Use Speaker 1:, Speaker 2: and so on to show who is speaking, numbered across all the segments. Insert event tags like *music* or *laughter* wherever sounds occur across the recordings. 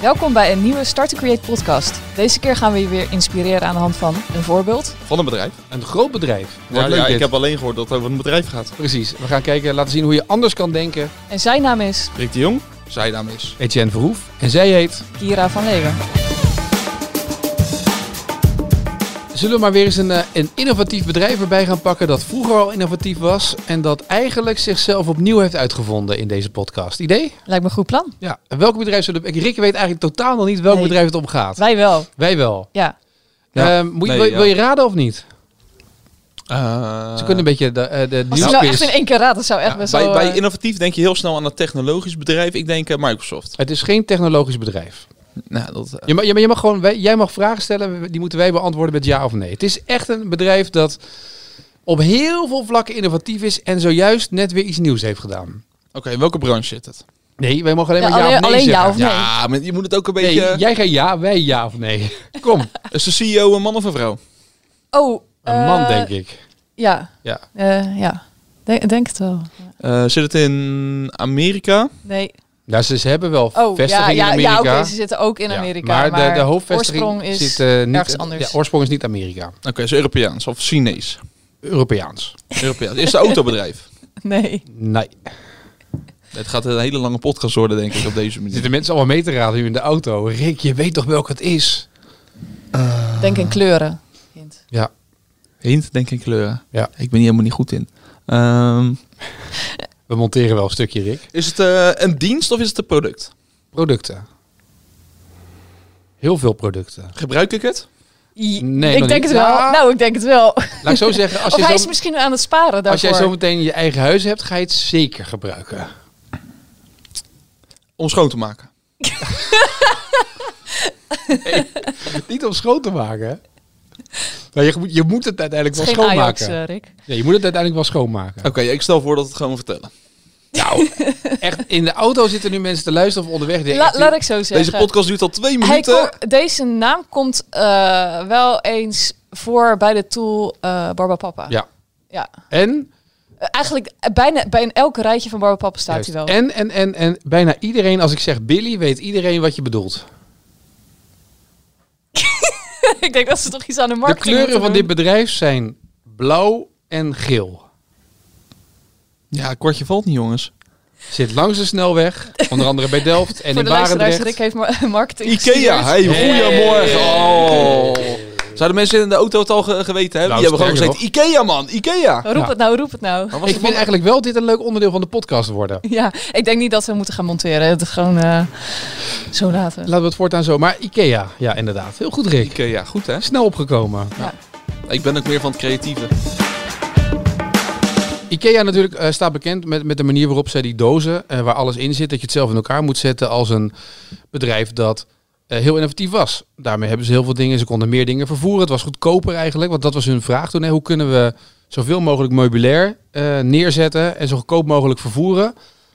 Speaker 1: Welkom bij een nieuwe Start to Create podcast. Deze keer gaan we je weer inspireren aan de hand van een voorbeeld.
Speaker 2: Van een bedrijf.
Speaker 3: Een groot bedrijf. Wat
Speaker 2: ja,
Speaker 3: leuk
Speaker 2: ja,
Speaker 3: dit.
Speaker 2: ik heb alleen gehoord dat het over een bedrijf gaat.
Speaker 3: Precies. We gaan kijken, laten zien hoe je anders kan denken.
Speaker 1: En zijn naam is
Speaker 2: Rick de Jong.
Speaker 3: Zij naam is Etienne Verhoef. En zij heet...
Speaker 1: Kira van Leeuwen.
Speaker 3: Zullen we maar weer eens een, eh, een innovatief bedrijf erbij gaan pakken dat vroeger al innovatief was en dat eigenlijk zichzelf opnieuw heeft uitgevonden in deze podcast. Idee?
Speaker 1: Lijkt me een goed plan.
Speaker 3: Ja. En welk bedrijf zullen we... Rick weet eigenlijk totaal nog niet welk
Speaker 1: Nee.
Speaker 3: bedrijf het om gaat.
Speaker 1: Wij wel.
Speaker 3: Wij wel.
Speaker 1: Ja.
Speaker 2: Ja.
Speaker 3: Ehm, moet je,
Speaker 2: Nee,
Speaker 3: wil,
Speaker 2: ja.
Speaker 3: wil je raden of niet?
Speaker 2: Eh,
Speaker 3: Ze kunnen een beetje de, eh, de
Speaker 1: Als je
Speaker 3: nieuwsquiz...
Speaker 1: nou echt in één keer raadt, dat zou echt
Speaker 3: Ja,
Speaker 1: best
Speaker 2: bij,
Speaker 1: wel...
Speaker 2: bij
Speaker 1: eh,
Speaker 2: innovatief denk je heel snel aan een technologisch bedrijf. Ik denk eh, Microsoft.
Speaker 3: Het is geen technologisch bedrijf.
Speaker 2: Nou, dat, eh,
Speaker 3: Je mag, je mag- je mag gewoon, wij- jij mag vragen stellen, die moeten wij beantwoorden met ja of nee. Het is echt een bedrijf dat op heel veel vlakken innovatief is en zojuist net weer iets nieuws heeft gedaan.
Speaker 2: Oké, in welke branche zit het?
Speaker 3: Nee, wij mogen alleen
Speaker 1: Ja,
Speaker 3: maar ja,
Speaker 1: alleen-
Speaker 3: of nee
Speaker 1: alleen ja
Speaker 3: zeggen.
Speaker 1: of nee.
Speaker 2: Ja, maar je moet het ook een
Speaker 3: Nee,
Speaker 2: beetje...
Speaker 3: jij geen ja, wij ja of nee.
Speaker 1: *laughs*
Speaker 3: Kom,
Speaker 2: Is de CEO een man of een vrouw?
Speaker 1: Oh.
Speaker 3: een man
Speaker 1: eh,
Speaker 3: denk ik.
Speaker 1: Ja.
Speaker 3: Ja.
Speaker 1: Eh, ja. Denk, denk het wel.
Speaker 2: Eh, zit het in Amerika?
Speaker 1: Nee.
Speaker 3: Nou, ze, ze hebben wel
Speaker 1: Oh, ja,
Speaker 3: vestigingen
Speaker 1: ja,
Speaker 3: in
Speaker 1: ja
Speaker 3: Amerika.
Speaker 1: oké, ze zitten ook in
Speaker 3: Ja,
Speaker 1: Amerika.
Speaker 3: maar, de, de hoofdvestiging
Speaker 1: oorsprong is
Speaker 3: zit, eh, niet,
Speaker 1: ergens anders.
Speaker 3: Ja, oorsprong is niet Amerika.
Speaker 2: Oké, is Europeaans of Chinees?
Speaker 3: Europeaans.
Speaker 2: Europeaans. Is het een *laughs* autobedrijf?
Speaker 1: Nee.
Speaker 3: Nee.
Speaker 2: Het gaat een hele lange podcast worden, denk ik, op deze manier.
Speaker 3: Zitten mensen allemaal mee te raden nu in de auto. Rick, je weet toch welk het is?
Speaker 1: Denk in kleuren. Hint.
Speaker 3: Ja.
Speaker 2: Hint, denk ik, kleuren.
Speaker 3: Ja.
Speaker 2: Ik ben hier helemaal niet goed in. Ehm,
Speaker 3: We monteren wel een stukje, Rick.
Speaker 2: is het eh, een dienst of is het een product?
Speaker 3: Producten. Heel veel producten.
Speaker 2: Gebruik ik het?
Speaker 1: I-
Speaker 3: Nee,
Speaker 1: ik
Speaker 3: nog
Speaker 1: denk
Speaker 3: niet.
Speaker 1: het wel.
Speaker 3: Ja.
Speaker 1: Nou, ik denk het wel.
Speaker 3: Laat ik zo zeggen,
Speaker 1: *laughs*
Speaker 3: als,
Speaker 1: of hij
Speaker 3: je
Speaker 1: is
Speaker 3: zo,
Speaker 1: misschien aan het sparen daarvoor.
Speaker 3: als jij zo meteen je eigen huis hebt, ga je het zeker gebruiken.
Speaker 2: Om schoon te maken.
Speaker 3: Niet om schoon te
Speaker 1: *laughs*
Speaker 3: maken. Maar je, moet- je moet het uiteindelijk wel
Speaker 1: Het is geen Ajax,
Speaker 3: schoonmaken.
Speaker 1: eh, Rick.
Speaker 3: Nee, je moet het uiteindelijk wel schoonmaken.
Speaker 2: Oké, ik stel voor dat het gewoon vertellen.
Speaker 1: *laughs*
Speaker 3: Nou, echt, in de auto zitten nu mensen te luisteren of onderweg. die
Speaker 1: La-
Speaker 3: echt-
Speaker 1: laat ik zo
Speaker 2: Deze
Speaker 1: zeggen.
Speaker 2: podcast duurt al twee
Speaker 1: Hij
Speaker 2: minuten.
Speaker 1: kom- deze naam komt eh, wel eens voor bij de tool eh Barba Papa.
Speaker 3: Ja.
Speaker 1: Ja.
Speaker 3: En,
Speaker 1: Eh, eigenlijk eh, bijna bij in elk rijtje van Barba Papa staat
Speaker 3: juist.
Speaker 1: hij wel.
Speaker 3: en, en, en, en bijna iedereen, als ik zeg Billy, weet iedereen wat je bedoelt.
Speaker 1: *laughs* ik denk dat ze toch iets aan de
Speaker 3: De
Speaker 1: marketing
Speaker 3: kleuren van
Speaker 1: moeten doen.
Speaker 3: dit bedrijf zijn blauw en geel.
Speaker 2: Ja, een kwartje valt niet, jongens.
Speaker 3: Zit langs de snelweg, onder andere bij
Speaker 1: *laughs*
Speaker 3: Delft en
Speaker 1: Voor
Speaker 3: in
Speaker 1: de luisteraars, Rick
Speaker 3: Barendrecht.
Speaker 1: heeft ma- marketing
Speaker 2: Ikea,
Speaker 1: gestudeerd.
Speaker 2: hey,
Speaker 3: Hey.
Speaker 2: goeiemorgen. Oh. Zouden mensen in de auto het al ge- geweten hebben?
Speaker 3: Nou,
Speaker 2: Die hebben gewoon
Speaker 3: sterker
Speaker 2: gezegd, Ikea man, Ikea.
Speaker 1: Roep
Speaker 3: Ja. Oh.
Speaker 1: het nou, roep het nou.
Speaker 2: Maar was
Speaker 3: Ik
Speaker 2: het
Speaker 3: vind
Speaker 2: wel-
Speaker 3: eigenlijk wel dit een leuk onderdeel van de podcast worden.
Speaker 1: *laughs* Ja, ik denk niet dat we moeten gaan monteren. Het is gewoon eh, zo laten.
Speaker 3: Laten we het voortaan zo. Maar Ikea, ja inderdaad. Heel goed Rick.
Speaker 2: Ikea, goed hè?
Speaker 3: Snel opgekomen.
Speaker 2: Ik ben ook meer van het creatieve.
Speaker 3: Ikea natuurlijk eh, staat bekend met, met de manier waarop zij die dozen, eh, waar alles in zit, dat je het zelf in elkaar moet zetten als een bedrijf dat eh, heel innovatief was. Daarmee hebben ze heel veel dingen, ze konden meer dingen vervoeren. Het was goedkoper eigenlijk, want dat was hun vraag toen. Hè. Hoe kunnen we zoveel mogelijk meubilair eh, neerzetten en zo goedkoop mogelijk vervoeren?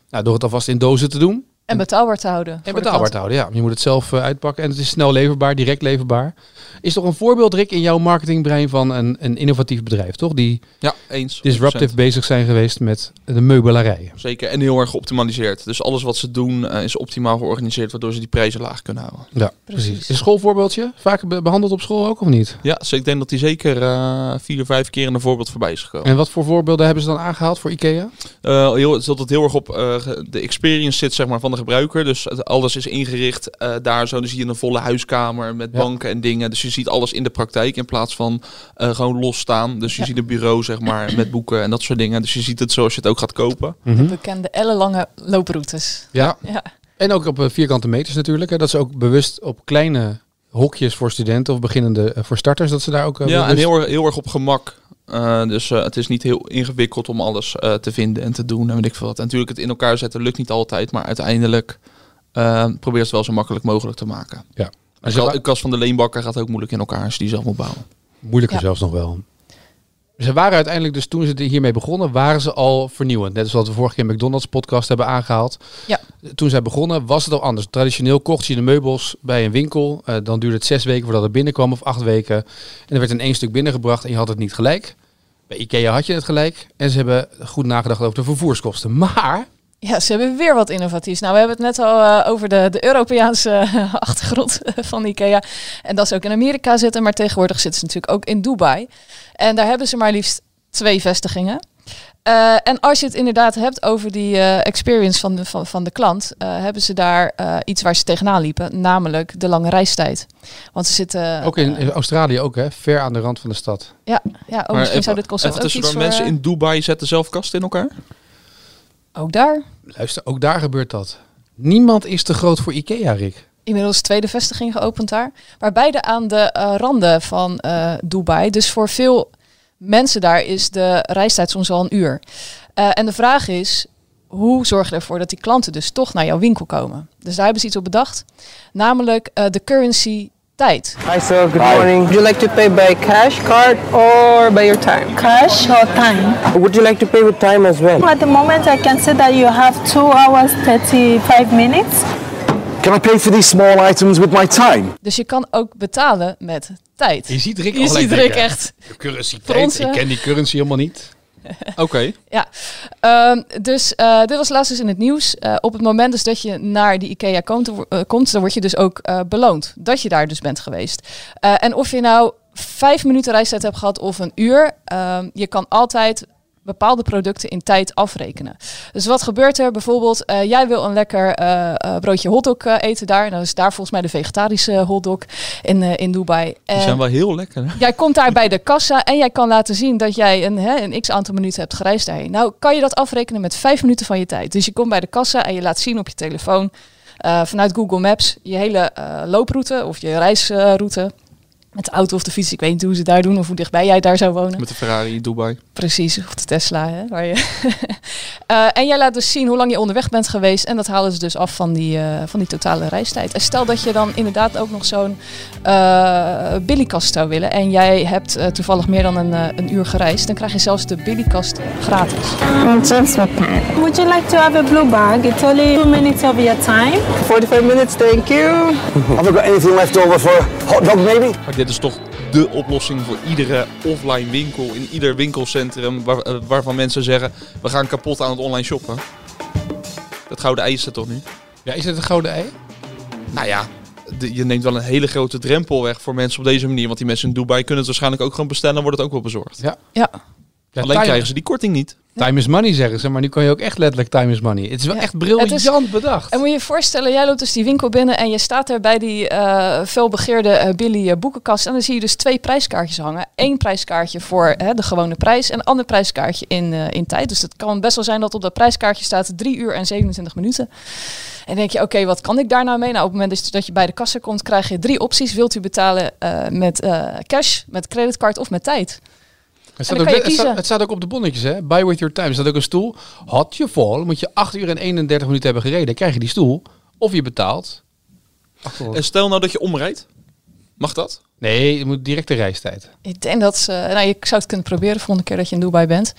Speaker 3: Nou, door het alvast in dozen te doen.
Speaker 1: En betaalbaar te houden. voor
Speaker 3: En
Speaker 1: de
Speaker 3: betaalbaar
Speaker 1: klant.
Speaker 3: te houden, ja. Je moet het zelf eh, uitpakken en het is snel leverbaar, direct leverbaar. Is toch een voorbeeld, Rick, in jouw marketingbrein van een, een innovatief bedrijf, toch? Die
Speaker 2: Ja, eens. 100%.
Speaker 3: disruptive bezig zijn geweest met de meubelarij.
Speaker 2: Zeker, en heel erg geoptimaliseerd. Dus alles wat ze doen eh, is optimaal georganiseerd, waardoor ze die prijzen laag kunnen houden.
Speaker 3: Ja,
Speaker 1: Precies.
Speaker 3: precies. Is een schoolvoorbeeldje vaak be- behandeld op school ook of niet?
Speaker 2: Ja, dus ik denk dat die zeker eh, vier, vijf keer in een voorbeeld voorbij is gekomen.
Speaker 3: En wat voor voorbeelden hebben ze dan aangehaald voor Ikea?
Speaker 2: Eh, heel, het is altijd heel erg op eh, ge- de experience zit zeg maar, van de gebruiker. Dus het- alles is ingericht eh, daar zo. Dan zie je een volle huiskamer met
Speaker 3: Ja.
Speaker 2: banken en dingen. Dus je ziet alles in de praktijk in plaats van eh, gewoon losstaan. Dus je ziet een bureau zeg maar, met boeken en dat soort dingen. Dus je ziet het zoals je het ook gaat kopen.
Speaker 1: Bekende ellenlange looproutes.
Speaker 3: Ja,
Speaker 1: Ja.
Speaker 3: en ook op eh, vierkante meters natuurlijk. Hè, dat ze ook bewust op kleine hokjes voor studenten of beginnende eh, voor starters, dat ze daar ook eh,
Speaker 2: ja, en
Speaker 3: bewust-
Speaker 2: heel, erg- heel erg op gemak. Eh, dus eh, het is niet heel ingewikkeld om alles eh, te vinden en te doen en weet ik veel wat. En natuurlijk, het in elkaar zetten lukt niet altijd. Maar uiteindelijk eh, probeer het wel zo makkelijk mogelijk te maken.
Speaker 3: Ja.
Speaker 2: Een
Speaker 3: ze
Speaker 2: ka-
Speaker 3: wa-
Speaker 2: een kast van de leenbakker gaat ook moeilijk in elkaar als je die zelf moet
Speaker 1: Oh,
Speaker 2: bouwen.
Speaker 3: Moeilijker
Speaker 1: Ja.
Speaker 3: zelfs nog wel. Ze waren uiteindelijk, dus toen ze de- hiermee begonnen, waren ze al vernieuwend. Net zoals we vorige keer McDonald's podcast hebben aangehaald.
Speaker 1: Ja.
Speaker 3: Toen zij begonnen was het al anders. Traditioneel kocht je de meubels bij een winkel. Eh, dan duurde het zes weken voordat het binnenkwam of acht weken. En er werd in één stuk binnengebracht en je had het niet gelijk. Bij Ikea had je het gelijk. En ze hebben goed nagedacht over de vervoerskosten. Maar
Speaker 1: Ja, ze hebben weer wat innovatiefs. Nou, we hebben het net al eh, over de, de Europese eh, *laughs* achtergrond van IKEA. En dat ze ook in Amerika zitten, maar tegenwoordig zitten ze natuurlijk ook in Dubai. En daar hebben ze maar liefst twee vestigingen. Eh, en als je het inderdaad hebt over die eh, experience van de, van, van de klant, eh, hebben ze daar eh, iets waar ze tegenaan liepen, namelijk de lange reistijd. Want ze zitten.
Speaker 3: Ook in
Speaker 1: eh,
Speaker 3: in Australië ook, hè? Ver aan de rand van de stad.
Speaker 1: ja, oh,
Speaker 2: Maar
Speaker 1: misschien zou dit
Speaker 2: Even
Speaker 1: concept ook
Speaker 2: tussendoor,
Speaker 1: iets voor, eh,
Speaker 2: mensen in Dubai zetten zelf kasten in
Speaker 1: *laughs*
Speaker 2: elkaar?
Speaker 1: Ook daar.
Speaker 3: Luister, ook daar gebeurt dat. Niemand is te groot voor IKEA, Rick.
Speaker 1: Inmiddels tweede vestiging geopend daar. Maar beide aan de eh, randen van eh, Dubai. Dus voor veel mensen daar is de reistijd soms al een uur. Eh, en de vraag is, hoe zorg je ervoor dat die klanten dus toch naar jouw winkel komen? Dus daar hebben ze iets op bedacht. Namelijk eh, de currency tijd.
Speaker 4: Hi sir, good morning. Would you like to pay by cash, card or by your time?
Speaker 5: Cash or time?
Speaker 4: Would you like to pay with time as well?
Speaker 5: At the moment, I can say that you have 2 hours 35 minutes.
Speaker 6: Can I pay for these small items with my time?
Speaker 1: Dus je kan ook betalen met tijd.
Speaker 3: Je ziet Rick
Speaker 1: Je
Speaker 3: al
Speaker 1: ziet Rick echt.
Speaker 3: Currency
Speaker 1: Voor ons,
Speaker 3: Ik
Speaker 1: eh.
Speaker 3: ken die currency helemaal niet.
Speaker 2: Oké.
Speaker 1: Ja, Ehm, dus eh, dit was laatst dus in het nieuws. Eh, op het moment dus dat je naar die IKEA komt, dan wo- eh, komt, dan word je dus ook eh, beloond dat je daar dus bent geweest. Eh, en of je nou vijf minuten reistijd hebt gehad of een uur, ehm, je kan altijd bepaalde producten in tijd afrekenen. Dus wat gebeurt er? Bijvoorbeeld, eh, jij wil een lekker eh, eh, broodje hotdog eh, eten daar. En dan is daar volgens mij de vegetarische eh, hotdog in, eh, in Dubai.
Speaker 2: Die
Speaker 1: En-
Speaker 2: zijn wel heel lekker. *laughs* hè?
Speaker 1: Jij komt daar bij de kassa en jij kan laten zien dat jij een, hè, een x aantal minuten hebt gereisd daarheen. Nou, kan je dat afrekenen met vijf minuten van je tijd. Dus je komt bij de kassa en je laat zien op je telefoon eh, vanuit Google Maps je hele eh, looproute of je reisroute. Met de auto of de fiets, ik weet niet hoe ze daar doen of hoe dichtbij jij daar zou wonen.
Speaker 2: Met de Ferrari in Dubai.
Speaker 1: Precies, of de Tesla. Hè, waar je *laughs* Eh, en jij laat dus zien hoe lang je onderweg bent geweest. En dat halen ze dus af van die, eh, van die totale reistijd. En stel dat je dan inderdaad ook nog zo'n eh billykast zou willen. En jij hebt eh, toevallig meer dan een, eh, een uur gereisd. Dan krijg je zelfs de billykast gratis.
Speaker 5: Would you like to have a blue bag? It's only 2 minutes of your time.
Speaker 4: 45 minutes, thank you.
Speaker 6: Have I got anything left over for a hot dog maybe?
Speaker 2: Maar dit is toch de oplossing voor iedere offline winkel in ieder winkelcentrum waar- eh, waarvan mensen zeggen we gaan kapot aan het online shoppen. Dat gouden ei is dat toch nu?
Speaker 3: Ja, is het een gouden ei?
Speaker 2: Nou ja, de- je neemt wel een hele grote drempel weg voor mensen op deze manier. Want die mensen in Dubai kunnen het waarschijnlijk ook gewoon bestellen en wordt het ook wel bezorgd.
Speaker 1: Ja,
Speaker 3: Ja,
Speaker 2: Alleen
Speaker 3: time-
Speaker 2: krijgen ze die korting niet.
Speaker 3: Time is money zeggen ze, maar nu kan je ook echt letterlijk time is money. Het is wel
Speaker 1: Ja.
Speaker 3: echt briljant
Speaker 1: Het is-
Speaker 3: bedacht.
Speaker 1: En moet je je voorstellen, jij loopt dus die winkel binnen en je staat daar bij die eh, veelbegeerde eh, Billy eh, boekenkast. En dan zie je dus twee prijskaartjes hangen. Eén prijskaartje voor hè, de gewone prijs en een ander prijskaartje in, eh, in tijd. Dus het kan best wel zijn dat op dat prijskaartje staat 3 uur en 27 minuten. En dan denk je, oké, wat kan ik daar nou mee? Nou, op het moment dat je- dat je bij de kassa komt, krijg je drie opties. Wilt u betalen eh, met eh, cash, met creditcard of met tijd?
Speaker 3: het,
Speaker 1: en
Speaker 3: staat
Speaker 1: dan
Speaker 3: ook,
Speaker 1: kan je
Speaker 3: het, staat,
Speaker 1: kiezen.
Speaker 3: het staat ook op de bonnetjes, hè? Buy with your time. Er staat ook een stoel. Had je vol, moet je 8 uur en 31 minuten hebben gereden, krijg je die stoel. Of je betaalt.
Speaker 2: En stel nou dat je omrijdt. Mag dat?
Speaker 3: Nee, je moet direct de reistijd.
Speaker 1: Ik denk dat ze. Nou, je zou het kunnen proberen volgende keer dat je in Dubai bent.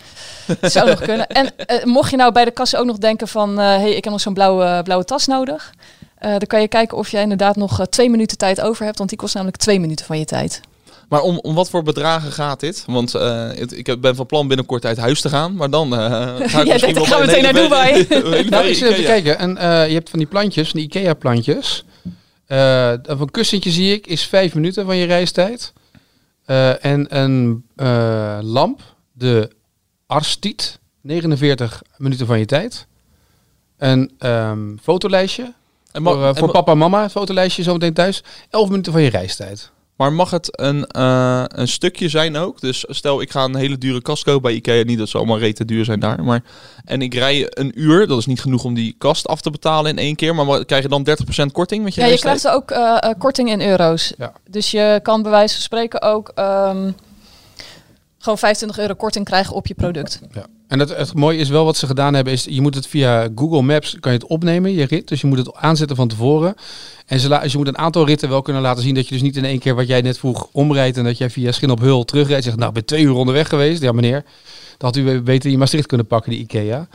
Speaker 1: Het zou nog kunnen. En eh, mocht je nou bij de kassa ook nog denken van, hé, hey, ik heb nog zo'n blauwe, blauwe tas nodig. eh, dan kan je kijken of jij inderdaad nog eh, twee minuten tijd over hebt, want die kost namelijk twee minuten van je tijd.
Speaker 2: Maar om, om wat voor bedragen gaat dit? Want eh, het- ik heb- ben van plan binnenkort uit huis te gaan. Maar dan eh, *laughs* ga ik
Speaker 1: denkt,
Speaker 2: misschien wel
Speaker 1: ik ga
Speaker 2: een
Speaker 1: meteen
Speaker 2: *laughs* hele
Speaker 1: naar
Speaker 2: berg-
Speaker 1: Dubai.
Speaker 2: een hele
Speaker 3: Nou,
Speaker 2: berg
Speaker 3: ik zit even
Speaker 2: Ikea.
Speaker 3: te kijken. En, eh, je hebt van die plantjes, van die IKEA-plantjes. Eh, Of een kussentje zie ik, is 5 minuten van je reistijd. Eh, en een eh, lamp, de Arstiet, 49 minuten van je tijd. Een ehm, fotolijstje,
Speaker 2: En mag-
Speaker 3: voor, eh,
Speaker 2: en
Speaker 3: voor
Speaker 2: ma-
Speaker 3: papa en mama, een fotolijstje zometeen thuis. 11 minuten van je reistijd.
Speaker 2: Maar mag het een, eh, een stukje zijn ook? Dus stel, ik ga een hele dure kast kopen bij Ikea. Niet dat ze allemaal rete duur zijn daar. Maar, en ik rij een uur. Dat is niet genoeg om die kast af te betalen in één keer. Maar wat- krijg je dan 30% korting met je
Speaker 1: Ja, je
Speaker 2: reistijd?
Speaker 1: krijgt ook eh, eh, korting in euro's.
Speaker 3: Ja.
Speaker 1: Dus je kan bij wijze van spreken ook ehm, gewoon 25 euro korting krijgen op je product.
Speaker 3: Ja. En het, het mooie is wel wat ze gedaan hebben, is je moet het via Google Maps kan je het opnemen, je rit. Dus je moet het aanzetten van tevoren. En ze la- dus je moet een aantal ritten wel kunnen laten zien dat je dus niet in één keer wat jij net vroeg omrijdt en dat jij via Schin op Hul terugrijdt. en Zegt, nou, ik ben twee uur onderweg geweest. Ja, meneer, dat had u beter in Maastricht kunnen pakken, die IKEA.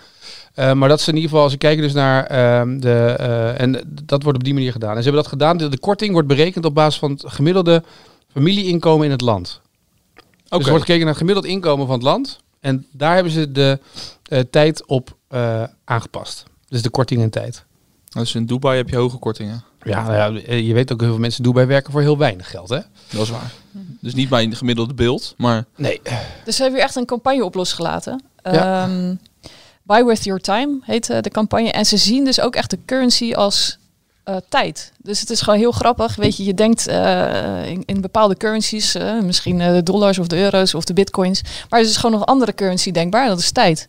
Speaker 3: Eh, maar dat is in ieder geval, als we kijken dus naar ehm, de... eh, en dat wordt op die manier gedaan. En ze hebben dat gedaan. De, de korting wordt berekend op basis van het gemiddelde familieinkomen in het land.
Speaker 2: Oké.
Speaker 3: Dus er wordt gekeken naar het gemiddeld inkomen van het land. En daar hebben ze de eh, tijd op eh, aangepast. Dus de korting en tijd.
Speaker 2: Dus in Dubai heb je hoge kortingen.
Speaker 3: Ja, nou ja, je weet ook heel veel mensen doen bij werken voor heel weinig geld, hè?
Speaker 2: Dat is waar. Dus niet mijn gemiddelde beeld, maar
Speaker 3: Nee.
Speaker 1: Dus ze hebben hier echt een campagne op losgelaten.
Speaker 3: Ja.
Speaker 1: Ehm, Buy with your time heet eh, de campagne. En ze zien dus ook echt de currency als eh, tijd. Dus het is gewoon heel grappig. Weet je, je denkt eh, in, in bepaalde currencies, eh, misschien eh, de dollars of de euro's of de bitcoins. Maar er is gewoon nog een andere currency denkbaar en dat is tijd.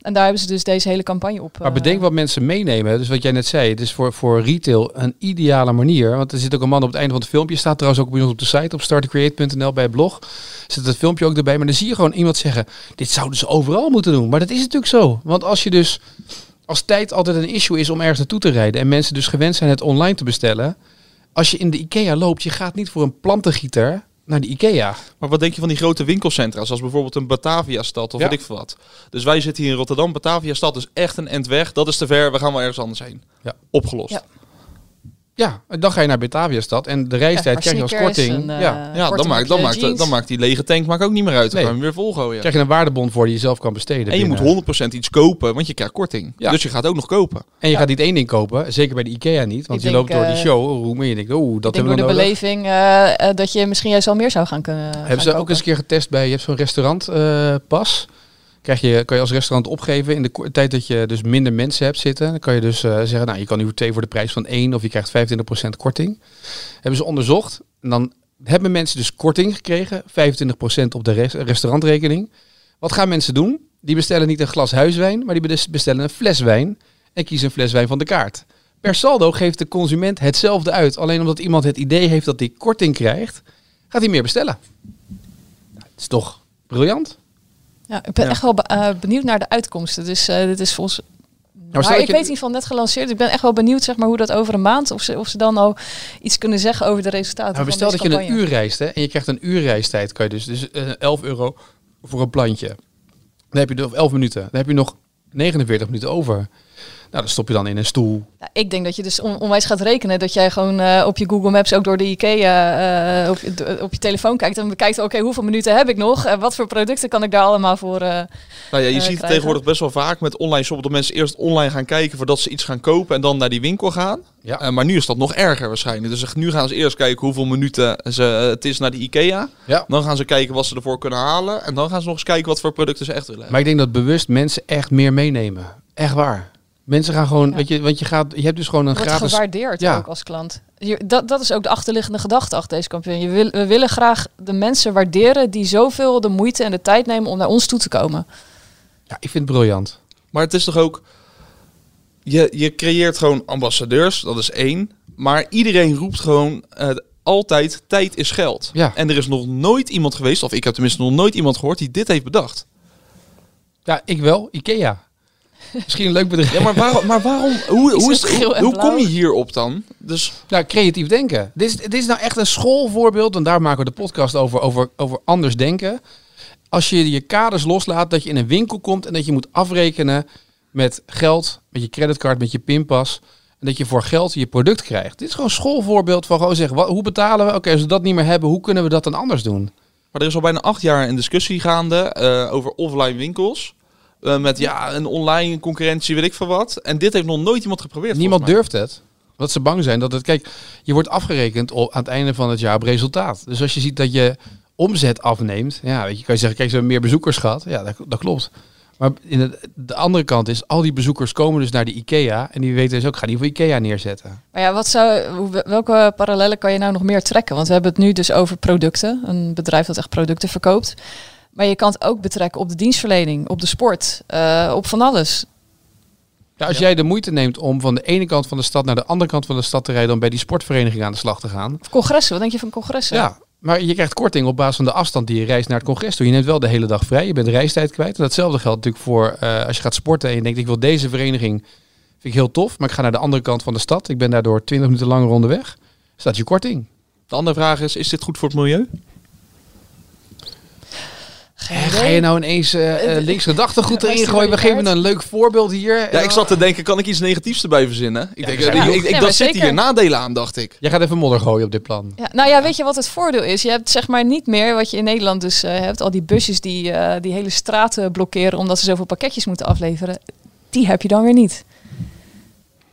Speaker 1: En daar hebben ze dus deze hele campagne op.
Speaker 3: Maar
Speaker 1: eh,
Speaker 3: bedenk wat mensen meenemen. Dus wat jij net zei, het is voor, voor retail een ideale manier. Want er zit ook een man op het einde van het filmpje. Staat trouwens ook bij ons op de site, op startcreate.nl bij het blog. Zit het filmpje ook erbij. Maar dan zie je gewoon iemand zeggen, dit zouden ze overal moeten doen. Maar dat is natuurlijk zo. Want als je dus, als tijd altijd een issue is om ergens naartoe te rijden. En mensen dus gewend zijn het online te bestellen. Als je in de Ikea loopt, je gaat niet voor een plantengieter naar de Ikea.
Speaker 2: Maar wat denk je van die grote winkelcentra, zoals bijvoorbeeld een Batavia-stad of
Speaker 3: Ja.
Speaker 2: weet ik veel wat. Dus wij zitten hier in Rotterdam, Batavia-stad is echt een end weg. Dat is te ver, we gaan wel ergens anders heen.
Speaker 3: Ja.
Speaker 2: Opgelost.
Speaker 1: Ja.
Speaker 3: Ja, en dan ga je naar Bataviastad en de
Speaker 1: ja,
Speaker 3: reistijd
Speaker 1: maar
Speaker 3: krijg je als
Speaker 1: sneakers en,
Speaker 3: korting.
Speaker 1: eh,
Speaker 3: ja.
Speaker 2: Ja,
Speaker 1: korte
Speaker 2: dan maakt, dan,
Speaker 1: broekje,
Speaker 2: maakt,
Speaker 1: jeans.
Speaker 2: dan maakt die lege tank maakt ook niet meer uit. Dan
Speaker 3: Nee.
Speaker 2: gaan we hem weer volgooien.
Speaker 3: krijg je een waardebon voor die je zelf kan besteden.
Speaker 2: en je
Speaker 3: binnen.
Speaker 2: moet 100% iets kopen, want je krijgt korting.
Speaker 3: Ja.
Speaker 2: Dus je gaat ook nog kopen.
Speaker 3: En je gaat niet één ding kopen, zeker bij de Ikea niet. Want
Speaker 1: Ik
Speaker 3: je
Speaker 1: denk,
Speaker 3: loopt door
Speaker 1: eh,
Speaker 3: die showroom en je denkt, oeh, dat
Speaker 1: Ik denk
Speaker 3: hebben
Speaker 1: door
Speaker 3: we
Speaker 1: de
Speaker 3: nou nog nodig.
Speaker 1: beleving eh, eh, dat je misschien juist al meer zou gaan kunnen.
Speaker 3: Hebben ze ook eens een keer getest bij, je hebt zo'n restaurantpas. pas. Krijg je, kan je als restaurant opgeven in de ko- tijd dat je dus minder mensen hebt zitten. Dan kan je dus eh, zeggen, nou je kan nu twee voor de prijs van één of je krijgt 25% korting. Hebben ze onderzocht en dan hebben mensen dus korting gekregen, 25% op de res- restaurantrekening. Wat gaan mensen doen? Die bestellen niet een glas huiswijn, maar die bes- bestellen een fles wijn en kiezen een fles wijn van de kaart. Per saldo geeft de consument hetzelfde uit. Alleen omdat iemand het idee heeft dat hij korting krijgt, gaat hij meer bestellen. Het is toch briljant?
Speaker 1: Ja, ik ben
Speaker 2: Ja.
Speaker 1: echt wel be- eh, benieuwd naar de uitkomsten. Dus eh, dit is volgens.
Speaker 3: Nou, stel
Speaker 1: maar
Speaker 3: dat
Speaker 1: ik
Speaker 3: je-
Speaker 1: weet niet van net gelanceerd. Ik ben echt wel benieuwd zeg maar, hoe dat over een maand. Of ze, of ze dan al iets kunnen zeggen over de resultaten.
Speaker 3: Nou, maar
Speaker 1: van
Speaker 3: stel dat
Speaker 1: deze
Speaker 3: je een
Speaker 1: campagne.
Speaker 3: uur reist hè, en je krijgt een uur reistijd, kan je dus, dus eh, 11 euro voor een plantje. Dan heb je nog 11 minuten. Dan heb je nog 49 minuten over. Nou, dat stop je dan in een stoel.
Speaker 1: Ja, ik denk dat je dus on- onwijs gaat rekenen. Dat jij gewoon eh, op je Google Maps ook door de IKEA eh, op, je- d- op je telefoon kijkt. En bekijkt, oké, hoeveel minuten heb ik nog? En wat voor producten kan ik daar allemaal voor... eh,
Speaker 2: Nou ja,
Speaker 1: Eh,
Speaker 2: je ziet het
Speaker 1: krijgen.
Speaker 2: tegenwoordig best wel vaak met online shoppen dat mensen eerst online gaan kijken voordat ze iets gaan kopen en dan naar die winkel gaan.
Speaker 3: Ja.
Speaker 2: Eh, maar nu is dat nog erger waarschijnlijk. Dus nu gaan ze eerst kijken hoeveel minuten ze, eh, het is naar de IKEA.
Speaker 3: Ja.
Speaker 2: Dan gaan ze kijken wat ze ervoor kunnen halen. En dan gaan ze nog eens kijken wat voor producten ze echt willen hebben.
Speaker 3: Maar ik denk dat bewust mensen echt meer meenemen. Echt waar. Mensen gaan gewoon, weet je, want je, gaat, je hebt dus gewoon een
Speaker 1: wordt
Speaker 3: gratis...
Speaker 1: gewaardeerd
Speaker 3: Ja.
Speaker 1: ook als klant. Je, dat, dat is ook de achterliggende gedachte achter deze campagne. Je wil, we willen graag de mensen waarderen die zoveel de moeite en de tijd nemen om naar ons toe te komen.
Speaker 3: Ja, ik vind het briljant.
Speaker 2: Maar het is toch ook. Je, je creëert gewoon ambassadeurs, dat is één. Maar iedereen roept gewoon eh, altijd: tijd is geld.
Speaker 3: Ja.
Speaker 2: En er is nog nooit iemand geweest, of ik heb tenminste nog nooit iemand gehoord die dit heeft bedacht.
Speaker 3: Ja, ik wel.
Speaker 1: *laughs*
Speaker 3: Ikea. Misschien een leuk bedrijf.
Speaker 2: Ja, maar, *laughs* waarom- maar waarom? Hoe, hoe, is het,
Speaker 1: geel
Speaker 2: hoe,
Speaker 1: en
Speaker 2: hoe
Speaker 1: blauw?
Speaker 2: kom je hierop dan? Dus
Speaker 3: Nou, creatief denken. Dit is, dit is nou echt een schoolvoorbeeld. En daar maken we de podcast over, over, over anders denken. Als je je kaders loslaat, dat je in een winkel komt en dat je moet afrekenen met geld, met je creditcard, met je pinpas. En dat je voor geld je product krijgt. Dit is gewoon een schoolvoorbeeld van gewoon zeggen, wa- hoe betalen we? Oké, als we dat niet meer hebben, hoe kunnen we dat dan anders doen?
Speaker 2: Maar er is al bijna acht jaar een discussie gaande eh, over offline winkels. Eh, met ja, een online concurrentie, weet ik veel wat. En dit heeft nog nooit iemand geprobeerd.
Speaker 3: Niemand
Speaker 2: volgens
Speaker 3: durft het. Omdat ze bang zijn dat het... Kijk, je wordt afgerekend op, aan het einde van het jaar op resultaat. Dus als je ziet dat je omzet afneemt... Ja, weet je, kan je zeggen, kijk, ze hebben meer bezoekers gehad. Ja, dat, dat klopt. Maar in het- de andere kant is, al die bezoekers komen dus naar de IKEA... en die weten dus ook, ik ga die voor IKEA neerzetten.
Speaker 1: Maar ja, wat zou, hoe- welke parallellen kan je nou nog meer trekken? Want we hebben het nu dus over producten. Een bedrijf dat echt producten verkoopt. Maar je kan het ook betrekken op de dienstverlening, op de sport, eh, op van alles.
Speaker 3: Ja, als jij de moeite neemt om van de ene kant van de stad... naar de andere kant van de stad te rijden... om bij die sportvereniging aan de slag te gaan...
Speaker 1: Of congressen, wat denk je van congressen?
Speaker 3: Ja, maar je krijgt korting op basis van de afstand die je reist naar het congres toe. Je neemt wel de hele dag vrij, je bent de reistijd kwijt. En datzelfde geldt natuurlijk voor eh, als je gaat sporten en je denkt, ik wil deze vereniging, vind ik heel tof, maar ik ga naar de andere kant van de stad. Ik ben daardoor 20 minuten langer onderweg. Staat je korting.
Speaker 2: mij. De andere vraag is, is dit goed voor het milieu?
Speaker 1: Geen
Speaker 3: Ga
Speaker 1: idee.
Speaker 3: je nou ineens eh eh, links
Speaker 1: Waar
Speaker 3: gedachtegoed
Speaker 1: is
Speaker 3: erin
Speaker 1: die
Speaker 3: gooien? We geven
Speaker 1: kaart?
Speaker 3: een leuk voorbeeld hier.
Speaker 2: Ja, ik zat te denken, kan ik iets negatiefs erbij verzinnen? Ik denk,
Speaker 3: we zijn
Speaker 2: eh, ik,
Speaker 3: ook-
Speaker 2: ik, ik-
Speaker 1: Ja, maar
Speaker 2: dat zit
Speaker 1: zeker.
Speaker 2: hier nadelen aan, dacht ik.
Speaker 3: Jij gaat even modder gooien op dit plan.
Speaker 1: Ja, nou ja, weet je wat het voordeel is? Je hebt zeg maar niet meer wat je in Nederland dus eh, hebt. Al die busjes die eh, die hele straten blokkeren omdat ze zoveel pakketjes moeten afleveren. Die heb je dan weer niet.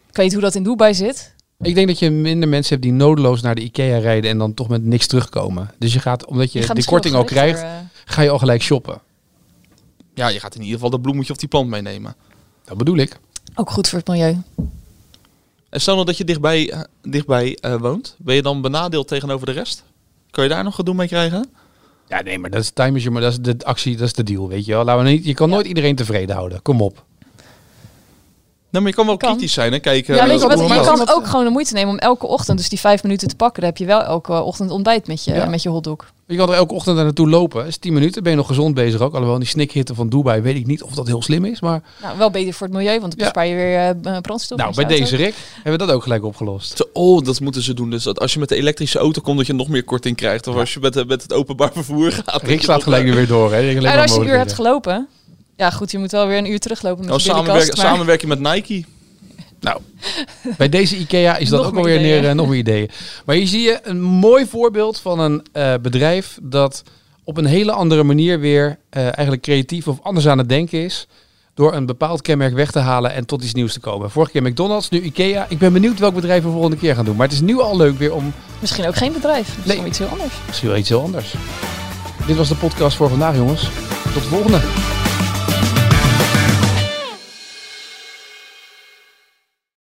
Speaker 1: Ik weet hoe dat in Dubai zit.
Speaker 3: Ik denk dat je minder mensen hebt die nodeloos naar de IKEA rijden en dan toch met niks terugkomen. Dus je gaat, omdat je,
Speaker 1: gaat
Speaker 3: die
Speaker 1: misschien
Speaker 3: korting
Speaker 1: wel
Speaker 3: al krijgt,
Speaker 1: gelijk er,
Speaker 3: ga je al gelijk shoppen.
Speaker 2: Ja, je gaat in ieder geval dat bloemetje of die plant meenemen.
Speaker 3: Dat bedoel ik.
Speaker 1: eh, ook goed voor het milieu.
Speaker 2: En stel nou dat je dichtbij, eh, dichtbij eh, woont. Ben je dan benadeeld tegenover de rest? Kan je daar nog gedoe mee krijgen?
Speaker 3: Ja, nee, maar dat is time is your, maar dat is de actie, dat is de deal, weet je wel. Laten we niet, je kan nooit iedereen tevreden houden. Kom op.
Speaker 2: Nou, maar je kan wel
Speaker 1: Kan.
Speaker 2: kritisch zijn en kijken.
Speaker 1: ja,
Speaker 2: eh,
Speaker 1: weet je,
Speaker 2: hoe
Speaker 1: wat,
Speaker 2: het
Speaker 1: je
Speaker 2: loopt.
Speaker 1: kan ook gewoon de moeite nemen om elke ochtend, dus die vijf minuten te pakken. Dan heb je wel elke ochtend ontbijt met je,
Speaker 3: Ja.
Speaker 1: met je hotdog.
Speaker 3: Je kan er elke ochtend daar naartoe lopen. is 10 minuten. Ben je nog gezond bezig ook. Alhoewel, die snikhitte van Dubai weet ik niet of dat heel slim is. Maar
Speaker 1: Nou, wel beter voor het milieu, want dan
Speaker 3: Ja.
Speaker 1: bespaar je weer eh, eh, brandstof.
Speaker 3: nou,
Speaker 1: met je
Speaker 3: bij deze
Speaker 1: auto.
Speaker 3: Rick hebben we dat ook gelijk opgelost.
Speaker 2: Zo, Oh, dat moeten ze doen. Dus dat als je met de elektrische auto komt, dat je nog meer korting krijgt. Of als je met, eh, met het openbaar vervoer gaat. dat
Speaker 3: Rick
Speaker 2: je
Speaker 3: slaat
Speaker 2: nog,
Speaker 3: gelijk
Speaker 2: eh,
Speaker 3: nu weer door. Hè.
Speaker 1: En als je een uur hebt gelopen, ja goed, je moet wel weer een uur teruglopen met
Speaker 3: Oh,
Speaker 1: je
Speaker 2: nou,
Speaker 1: billycast,
Speaker 2: samenwerken,
Speaker 1: maar-
Speaker 2: samenwerken met Nike.
Speaker 3: Nou, Bij deze IKEA is dat
Speaker 1: Nog
Speaker 3: ook
Speaker 1: meer
Speaker 3: alweer
Speaker 1: ideeën.
Speaker 3: neer, eh, nog meer ideeën. Maar hier zie je een mooi voorbeeld van een eh, bedrijf dat op een hele andere manier weer eh, eigenlijk creatief of anders aan het denken is. Door een bepaald kenmerk weg te halen en tot iets nieuws te komen. Vorige keer McDonald's, nu IKEA. Ik ben benieuwd welk bedrijf we volgende keer gaan doen. Maar het is nu al leuk weer om
Speaker 1: Misschien ook geen bedrijf, misschien
Speaker 3: Nee.
Speaker 1: iets heel anders.
Speaker 3: misschien wel iets heel anders. Dit was de podcast voor vandaag, jongens. Tot de volgende.